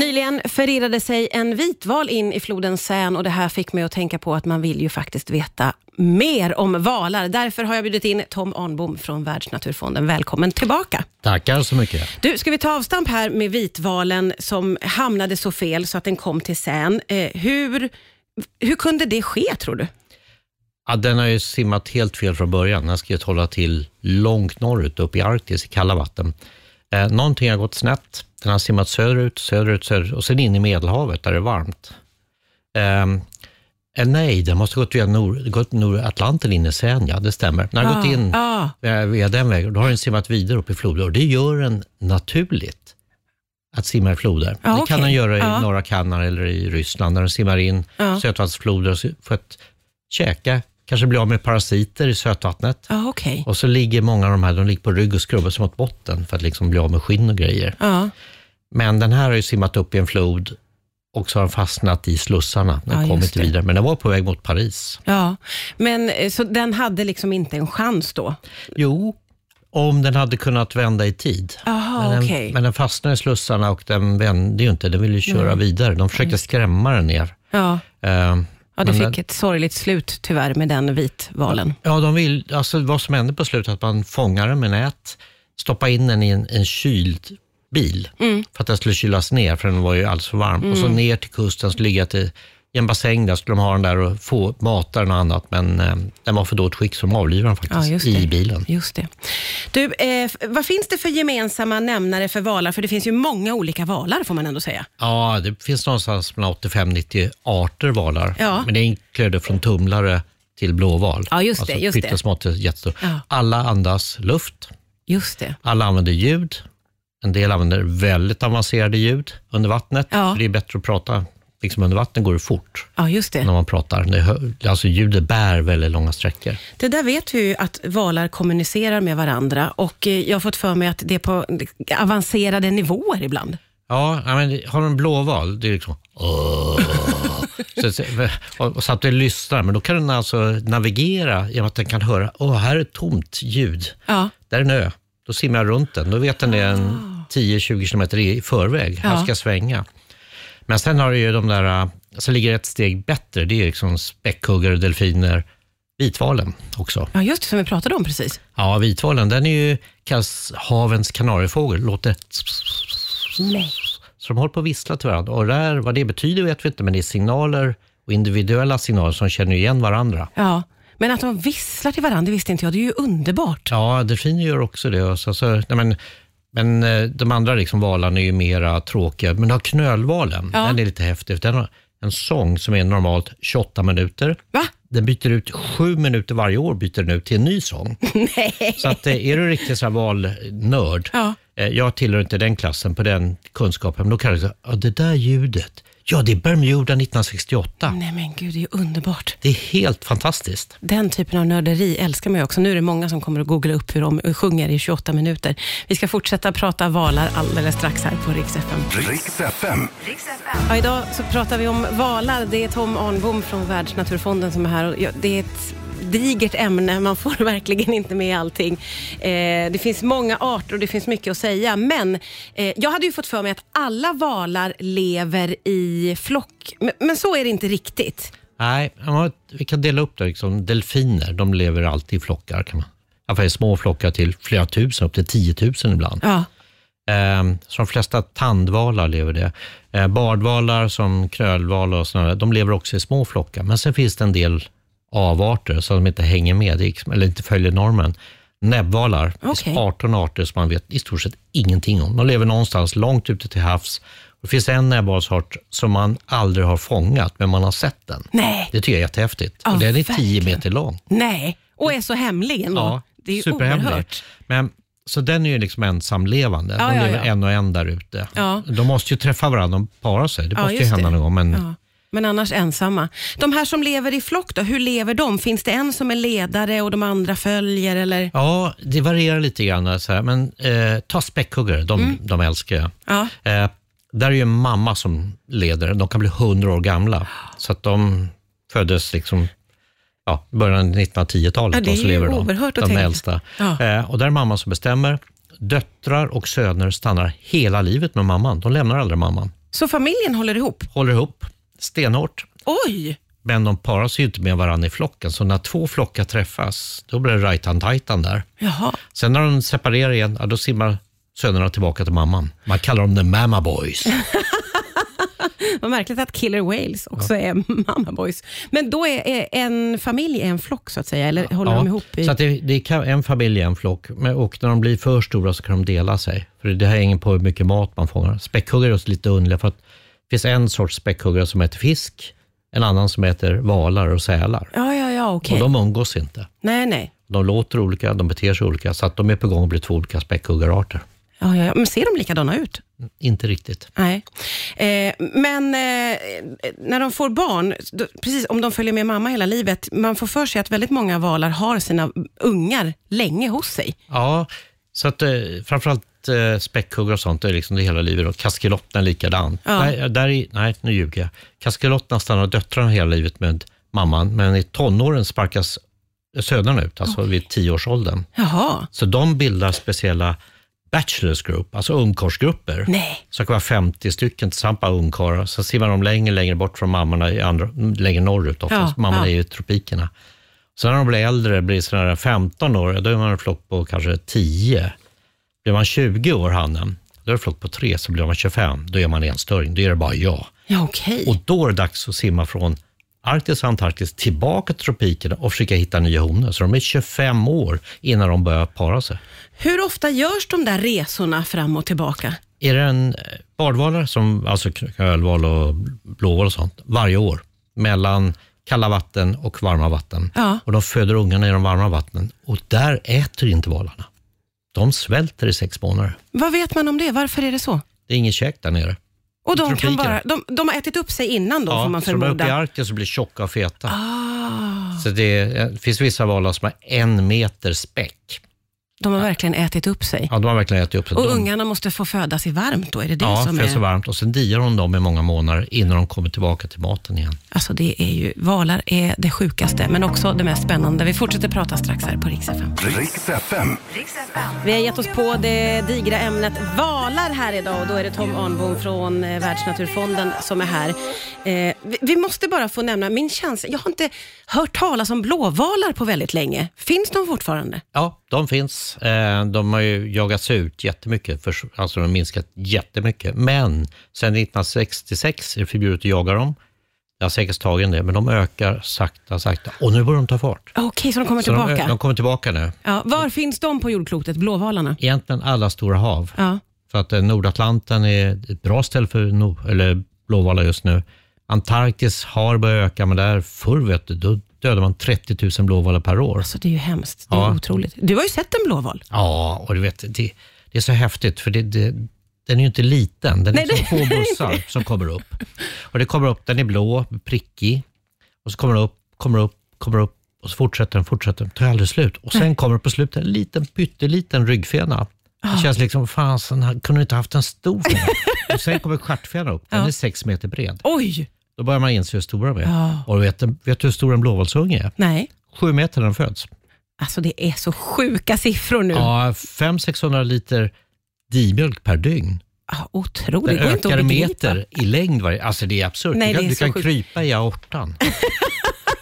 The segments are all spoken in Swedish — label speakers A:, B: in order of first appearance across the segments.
A: Nyligen förirrade sig en vitval in i floden Seine och det här fick mig att tänka på att man vill ju faktiskt veta mer om valar. Därför har jag bjudit in Tom Arnbom från Världsnaturfonden. Välkommen tillbaka.
B: Tackar så mycket.
A: Du, ska vi ta avstamp här med vitvalen som hamnade så fel så att den kom till Seine. Eh, hur, hur kunde det ske tror du?
B: Ja, den har ju simmat helt fel från början. Den ska ju hålla till långt norrut, upp i Arktis, i kalla vatten. Eh, någonting har gått snett. Den har simmat söderut, söderut, söderut och sen in i Medelhavet där det är varmt. Ehm, Eh, nej, den måste ha gått via nor, gått Nordatlanten in i Seine, ja det stämmer. Den har
A: Ah,
B: gått in
A: ah.
B: eh, via den vägen. Då har den simmat vidare upp i floder och det gör den naturligt att simma i floder.
A: Ja,
B: det kan
A: okej.
B: den göra i
A: Ja.
B: norra Kanada eller i Ryssland, där den simmar in
A: Ja.
B: sötvattenfloder för att käka, kanske bli av med parasiter i sötvattnet.
A: Ja, okej.
B: Och så ligger många av de här de ligger på rygg och skrubbar sig mot botten för att liksom bli av med skinn och grejer.
A: Ja,
B: Men den här har ju simmat upp i en flod och så har den fastnat i slussarna. Den
A: Ja,
B: kom
A: just
B: inte
A: det.
B: vidare, men den var på väg mot Paris.
A: ja. Men, eh, så den hade liksom inte en chans då?
B: Jo, om den hade kunnat vända i tid.
A: Jaha,
B: men, den,
A: Ah, okej.
B: men den fastnade i slussarna och den vände ju inte. Den ville ju köra
A: Mm.
B: vidare. De försökte skrämma den ner.
A: Ja.
B: Eh,
A: Ja, det
B: men
A: fick
B: den-
A: ett sorgligt slut tyvärr med den vitvalen.
B: Ja, de vill, alltså vad som händer på slutet, att man fångar den med nät, stoppar in den i en, en kyld bil
A: Mm.
B: för att den skulle kylas ner, för den var ju alldeles för varm. Och så ner till kusten, så ligga till, i en bassäng där skulle de ha den där och få mata den och annat, men eh, den var för dåligt skick, så de avlivade den
A: Ja,
B: faktiskt
A: just det.
B: i bilen.
A: Just det. Du, eh, f- vad finns det för gemensamma nämnare för valar? För det finns ju många olika valar får man ändå säga.
B: Ja, det finns någonstans mellan 85-90 arter valar,
A: Ja.
B: men det inkluderar från tumlare till blåval.
A: Ja, just det,
B: Alltså
A: just det.
B: pyttesmått till jättestort.
A: Ja.
B: Alla andas luft,
A: Just det.
B: Alla använder ljud. En del använder väldigt avancerade ljud under vattnet.
A: Ja.
B: För det är bättre att prata liksom under vatten, går det fort
A: Ja, just
B: när
A: det.
B: man pratar. Det är hö- alltså ljudet bär väldigt långa sträckor.
A: Det där vet vi ju att valar kommunicerar med varandra och eh, jag har fått för mig att det är på eh, avancerade nivåer ibland.
B: Ja, ja, men har du en blåval, det är liksom... så, så, och, och så att du lyssnar, men då kan den alltså navigera genom att den kan höra, åh, här är ett tomt ljud.
A: Ja,
B: Där är en ö. Då simmar jag runt den. Då vet den det en 10-20 kilometer i i förväg. Här
A: Ja.
B: ska jag svänga. Men sen har du ju de där, äh, så ligger det ett steg bättre. Det är liksom späckhuggare, delfiner, vitvalen också.
A: ja just det, som vi pratade om precis.
B: Ja, vitvalen, den är ju kallas havens kanariefågel. Låter...
A: Nej.
B: Så de håller på att vissla till varandra. Och där, vad det betyder vet vi inte, men det är signaler och individuella signaler som känner igen varandra.
A: Ja, men att de visslar till varandra, det visste inte jag. Det är ju underbart.
B: Ja, delfiner gör också det. Och så, så, nej, men, men eh, de andra liksom, valarna är ju mera tråkiga. Men du har knölvalen,
A: Ja.
B: den är lite häftig. för Den har en sång som är normalt 28 minuter.
A: Va?
B: Den byter ut sju minuter varje år byter den ut till en ny sång. Så att, eh, är du riktigt så här valnörd,
A: Ja.
B: eh, jag tillhör inte den klassen på den kunskapen, men då kan du säga, ja, det där ljudet, ja det är Bermuda 1968.
A: Nej men gud, det är ju underbart.
B: Det är helt fantastiskt.
A: Den typen av nörderi älskar man ju också. Nu är det många som kommer att googla upp hur de sjunger i 28 minuter. Vi ska fortsätta prata valar alldeles strax här på Rix FM.
C: Riks FM.
A: Ja, idag så pratar vi om valar. Det är Tom Arnbom från Världsnaturfonden som är här. Och ja, det är ett digert ämne, man får verkligen inte med allting. Eh, det finns många arter och det finns mycket att säga. Men eh, jag hade ju fått för mig att alla valar lever i flock. Men, men så är det inte riktigt.
B: Nej, ja, vi kan dela upp det. Liksom. Delfiner, de lever alltid i flockar. Kan man. I alla fall i små flockar till flera tusen, upp till 10 000 ibland.
A: Ja,
B: Ehm, så de flesta tandvalar lever det. Eh, bardvalar som krölvalar och sådana, där, de lever också i små flockar. Men sen finns det en del avarter som inte hänger med, liksom, eller inte följer normen. Näbbvalar, det
A: Okej.
B: finns 18 arter som man vet i stort sett ingenting om. De lever någonstans långt ute till havs. Det finns en näbbvalsart som man aldrig har fångat, men man har sett den.
A: nej,
B: Det tycker jag är jättehäftigt.
A: Ja,
B: och den är 10
A: verkligen.
B: meter lång.
A: nej. Och är så hemlig ändå. det är ju
B: superhemlig.
A: oerhört.
B: Men, så den är ju liksom ensamlevande.
A: Ja,
B: de
A: ja,
B: lever
A: ja.
B: en och en där ute.
A: Ja.
B: De måste ju träffa varandra, de parar sig. Det
A: Ja,
B: måste ju
A: just
B: hända
A: det.
B: någon gång. Men,
A: Ja. Men annars ensamma. De här som lever i flock då, hur lever de? Finns det en som är ledare och de andra följer eller?
B: ja, det varierar lite grann. Så här. Men eh, ta späckhuggare, de,
A: Mm.
B: de älskar jag.
A: Ja.
B: Eh, där är ju en mamma som leder. De kan bli 100 år gamla. Så att de föddes liksom ja, början av 1910-talet.
A: Ja, det
B: då,
A: är
B: så
A: ju
B: lever de,
A: oerhört att
B: de
A: tänka.
B: äldsta.
A: Ja.
B: Eh, och där är mamman som bestämmer. Döttrar och söner stannar hela livet med mamman. De lämnar aldrig mamman.
A: Så familjen håller ihop?
B: Håller ihop stenhårt.
A: Oj!
B: Men de paras ju inte med varandra i flocken, så när två flockar träffas, då blir det rajtan-tajtan där.
A: Jaha.
B: Sen när de separerar igen, ja, då simmar sönerna tillbaka till mamman. Man kallar dem the mamma boys.
A: Vad märkligt att Killer Whales också är mamma boys. Men då är är en familj en flock så att säga, eller håller de ihop? I...
B: Så att det, det kan, en familj är en flock men, och när de blir för stora så kan de dela sig. För Det här hänger på hur mycket mat man fångar. Späckhuggare är också lite underliga för att det finns en sorts späckhuggare som äter fisk, en annan som äter valar och sälar.
A: Ja, ja, ja, okej.
B: Och de umgås inte.
A: Nej, nej.
B: De låter olika, de beter sig olika, så att de är på gång att bli två olika späckhuggararter.
A: Ja, ja, ja. Men ser de likadana ut?
B: Inte riktigt.
A: Nej. Eh, men eh, när de får barn, då, precis om de följer med mamma hela livet, man får för sig att väldigt många valar har sina ungar länge hos sig.
B: Ja, så att eh, framförallt eh, späckhuggare och sånt, det är liksom det hela livet. Och kaskelotterna är likadan.
A: Ja.
B: Nej, där är, nej, nu ljuger jag. Kaskelotterna stannar döttrarna hela livet med mamman, men i tonåren sparkas sönerna ut, alltså vid tioårsåldern.
A: Jaha.
B: Så de bildar speciella bachelors group, alltså ungkarlsgrupper.
A: Nej.
B: Så det kan vara 50 stycken tillsammans, bara ungkarlar. Sen simmar de längre, längre bort från mammorna, i andra, längre norrut oftast.
A: Ja,
B: mammorna
A: ja.
B: är ju i tropikerna. Sen när de blir äldre, blir sådana 15 år, då är man en flock på kanske 10. Blir man 20 år, hannen, då är det flock på 3, så blir man 25, då är man enstöring. Då är det bara jag.
A: Ja, okej.
B: Och då är det dags att simma från Arktis och Antarktis tillbaka till tropikerna och försöka hitta nya honor. Så de är 25 år innan de börjar para sig.
A: Hur ofta görs de där resorna fram och tillbaka?
B: Är det en eh, badvalare, som, alltså k- kölval och blåval och sånt, varje år mellan kalla vatten och varma vatten.
A: Ja.
B: Och De föder ungarna i de varma vattnen och där äter inte valarna. De svälter i sex månader.
A: Vad vet man om det? Varför är det så?
B: Det är inget käk där nere.
A: Och de, kan
B: Tropiker.
A: bara, de, de har ätit upp sig innan då, får man
B: så de är uppe i
A: förmoda.
B: Arktis och blir tjocka och feta.
A: Ah,
B: Så det, är, eh, det finns vissa valar som har en meter späck.
A: de har verkligen ätit upp sig.
B: Ja, de har verkligen ätit upp sig.
A: Och
B: De-
A: ungarna måste få födas i varmt då? Är det det
B: Ja,
A: som
B: för det är så
A: är...
B: varmt. Och sen diar hon dem i många månader innan de kommer tillbaka till maten igen.
A: Alltså det är ju, valar är det sjukaste, men också det mest spännande. Vi fortsätter prata strax här på Rix FM.
C: Riks FM.
A: Vi har gett oss på det digra ämnet valar här idag och då är det Tom Arnbom från eh, Världsnaturfonden som är här. Eh, vi, vi måste bara få nämna min känsla. Jag har inte hört talas om blåvalar på väldigt länge. Finns de fortfarande?
B: Ja, de finns. Eh, De har ju jagats ut jättemycket, för, alltså de har minskat jättemycket. Men sedan 1966 är det förbjudet att jaga dem. Jag har säkert tagit det, men de ökar sakta, sakta. Och nu börjar de ta fart.
A: Okej, så de kommer
B: Så
A: tillbaka.
B: De, de kommer tillbaka nu.
A: Ja, var finns de på jordklotet, blåvalarna?
B: Egentligen alla stora hav.
A: Ja. Alltså,
B: För att eh, Nordatlanten är ett bra ställe för no, eller blåvalar just nu. Antarktis har börjat öka, men där förr vet du, då dödade man 30 000 blåvalar per år.
A: Alltså det är ju hemskt. Det är
B: Ja.
A: otroligt. Du har ju sett en blåval.
B: Ja, och du vet, det, det är så häftigt för det, det, den är ju inte liten. Den
A: Nej,
B: är som
A: det-
B: få bussar som kommer upp. Och det kommer upp, den är blå, prickig. Och så kommer den upp, kommer upp, kommer upp och så fortsätter den, fortsätter den, tar aldrig slut. Och sen kommer på slutet en liten pytteliten ryggfena.
A: Ah.
B: Det känns liksom, fasen, han kunde inte haft en stor fena. Och sen kommer stjärtfenan upp, den är sex meter bred.
A: Oj!
B: Då börjar man inse hur stora de är.
A: Ja.
B: Och du vet, vet du hur stor en blåvalsunge är?
A: Nej.
B: Sju meter när den föds.
A: Alltså det är så sjuka siffror nu.
B: Ja, 500-600 liter dimjölk per dygn.
A: Ah, otroligt.
B: Den
A: Det går inte
B: ökar
A: att
B: en
A: begripa.
B: meter i längd. Varje, alltså det är absurt.
A: Nej,
B: du kan,
A: det är
B: du
A: så
B: kan
A: sjukt.
B: krypa i aortan.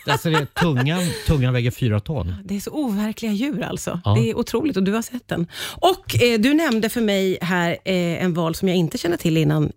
B: alltså det är, tungan, tungan väger fyra ton.
A: Det är så overkliga djur alltså.
B: Ja.
A: Det är otroligt och du har sett den. Och eh, du nämnde för mig här eh, en val som jag inte kände till innan.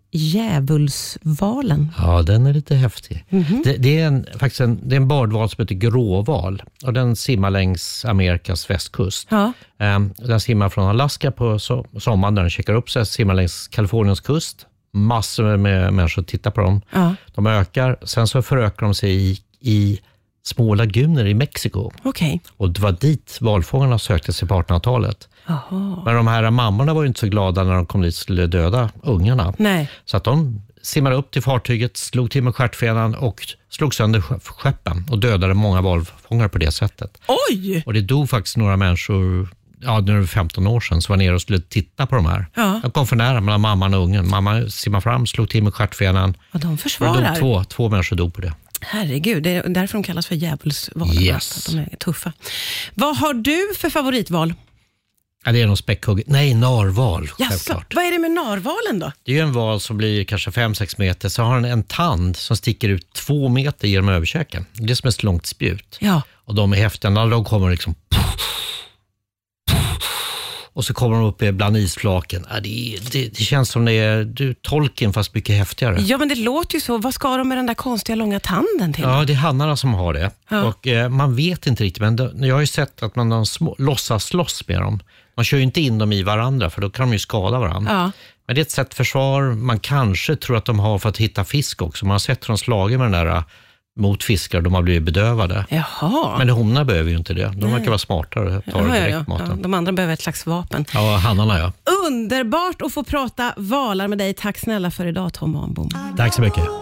A: Djävulsvalen.
B: Ja, den är lite häftig.
A: Mhm.
B: Det, det, är en, faktiskt en, det är en bardval som heter gråval och den simmar längs Amerikas västkust.
A: Ja.
B: Ehm, Den simmar från Alaska på so- sommaren när den checkar upp sig, simmar längs Kaliforniens kust. Massor med människor tittar på dem.
A: Ja.
B: De ökar. Sen så förökar de sig i, i små laguner i Mexiko.
A: Okej.
B: Och det var dit valfångarna sökte sig på 1800-talet.
A: Jaha.
B: Men de här mammorna var ju inte så glada när de kom dit och skulle döda ungarna.
A: Nej.
B: Så att de simmade upp till fartyget, slog till med stjärtfenan och slog sönder ske- skeppen och dödade många valfångare på det sättet.
A: Oj!
B: Och det dog faktiskt några människor, ja nu är det 15 år sedan, som var nere och skulle titta på de här.
A: Ja.
B: De kom för nära mellan mamman och ungen. Mamman simmade fram, slog till med stjärtfenan
A: Vad de
B: och det dog
A: försvarar.
B: två, två människor dog på det.
A: Herregud, det är därför de kallas för djävulsvalen.
B: Yes.
A: Att de är tuffa. Vad har du för favoritval?
B: Ja, det är någon späckhugg. Nej, narval.
A: Jaså,
B: Självklart.
A: vad är det med narvalen då?
B: Det är ju en val som blir kanske 5-6 meter, så har den en tand som sticker ut två meter genom överkäken. Det är som ett långt spjut.
A: Ja.
B: Och de är häftiga, de kommer liksom... Och så kommer de upp bland isflaken. Ja, det, det, det känns som det är du, Tolkien fast mycket häftigare.
A: ja, men det låter ju så. Vad ska de med den där konstiga långa tanden till?
B: Ja, det är hannarna som har det.
A: Ja.
B: Och eh, Man vet inte riktigt, men de, jag har ju sett att man har små, låtsas slåss med dem. Man kör ju inte in dem i varandra, för då kan de ju skada varandra.
A: Ja.
B: Men det är ett sätt försvar man kanske tror att de har för att hitta fisk också. Man har sett hur de slagit med den där eh, mot fiskar och de har blivit bedövade.
A: Jaha.
B: Men honorna behöver ju inte det. De verkar vara smartare och tar
A: Ja, ja,
B: direkt
A: ja. Ja,
B: maten.
A: de andra behöver ett slags vapen.
B: Ja, hannarna ja.
A: Underbart att få prata valar med dig. Tack snälla för idag Tom Arnbom.
B: Tack så mycket.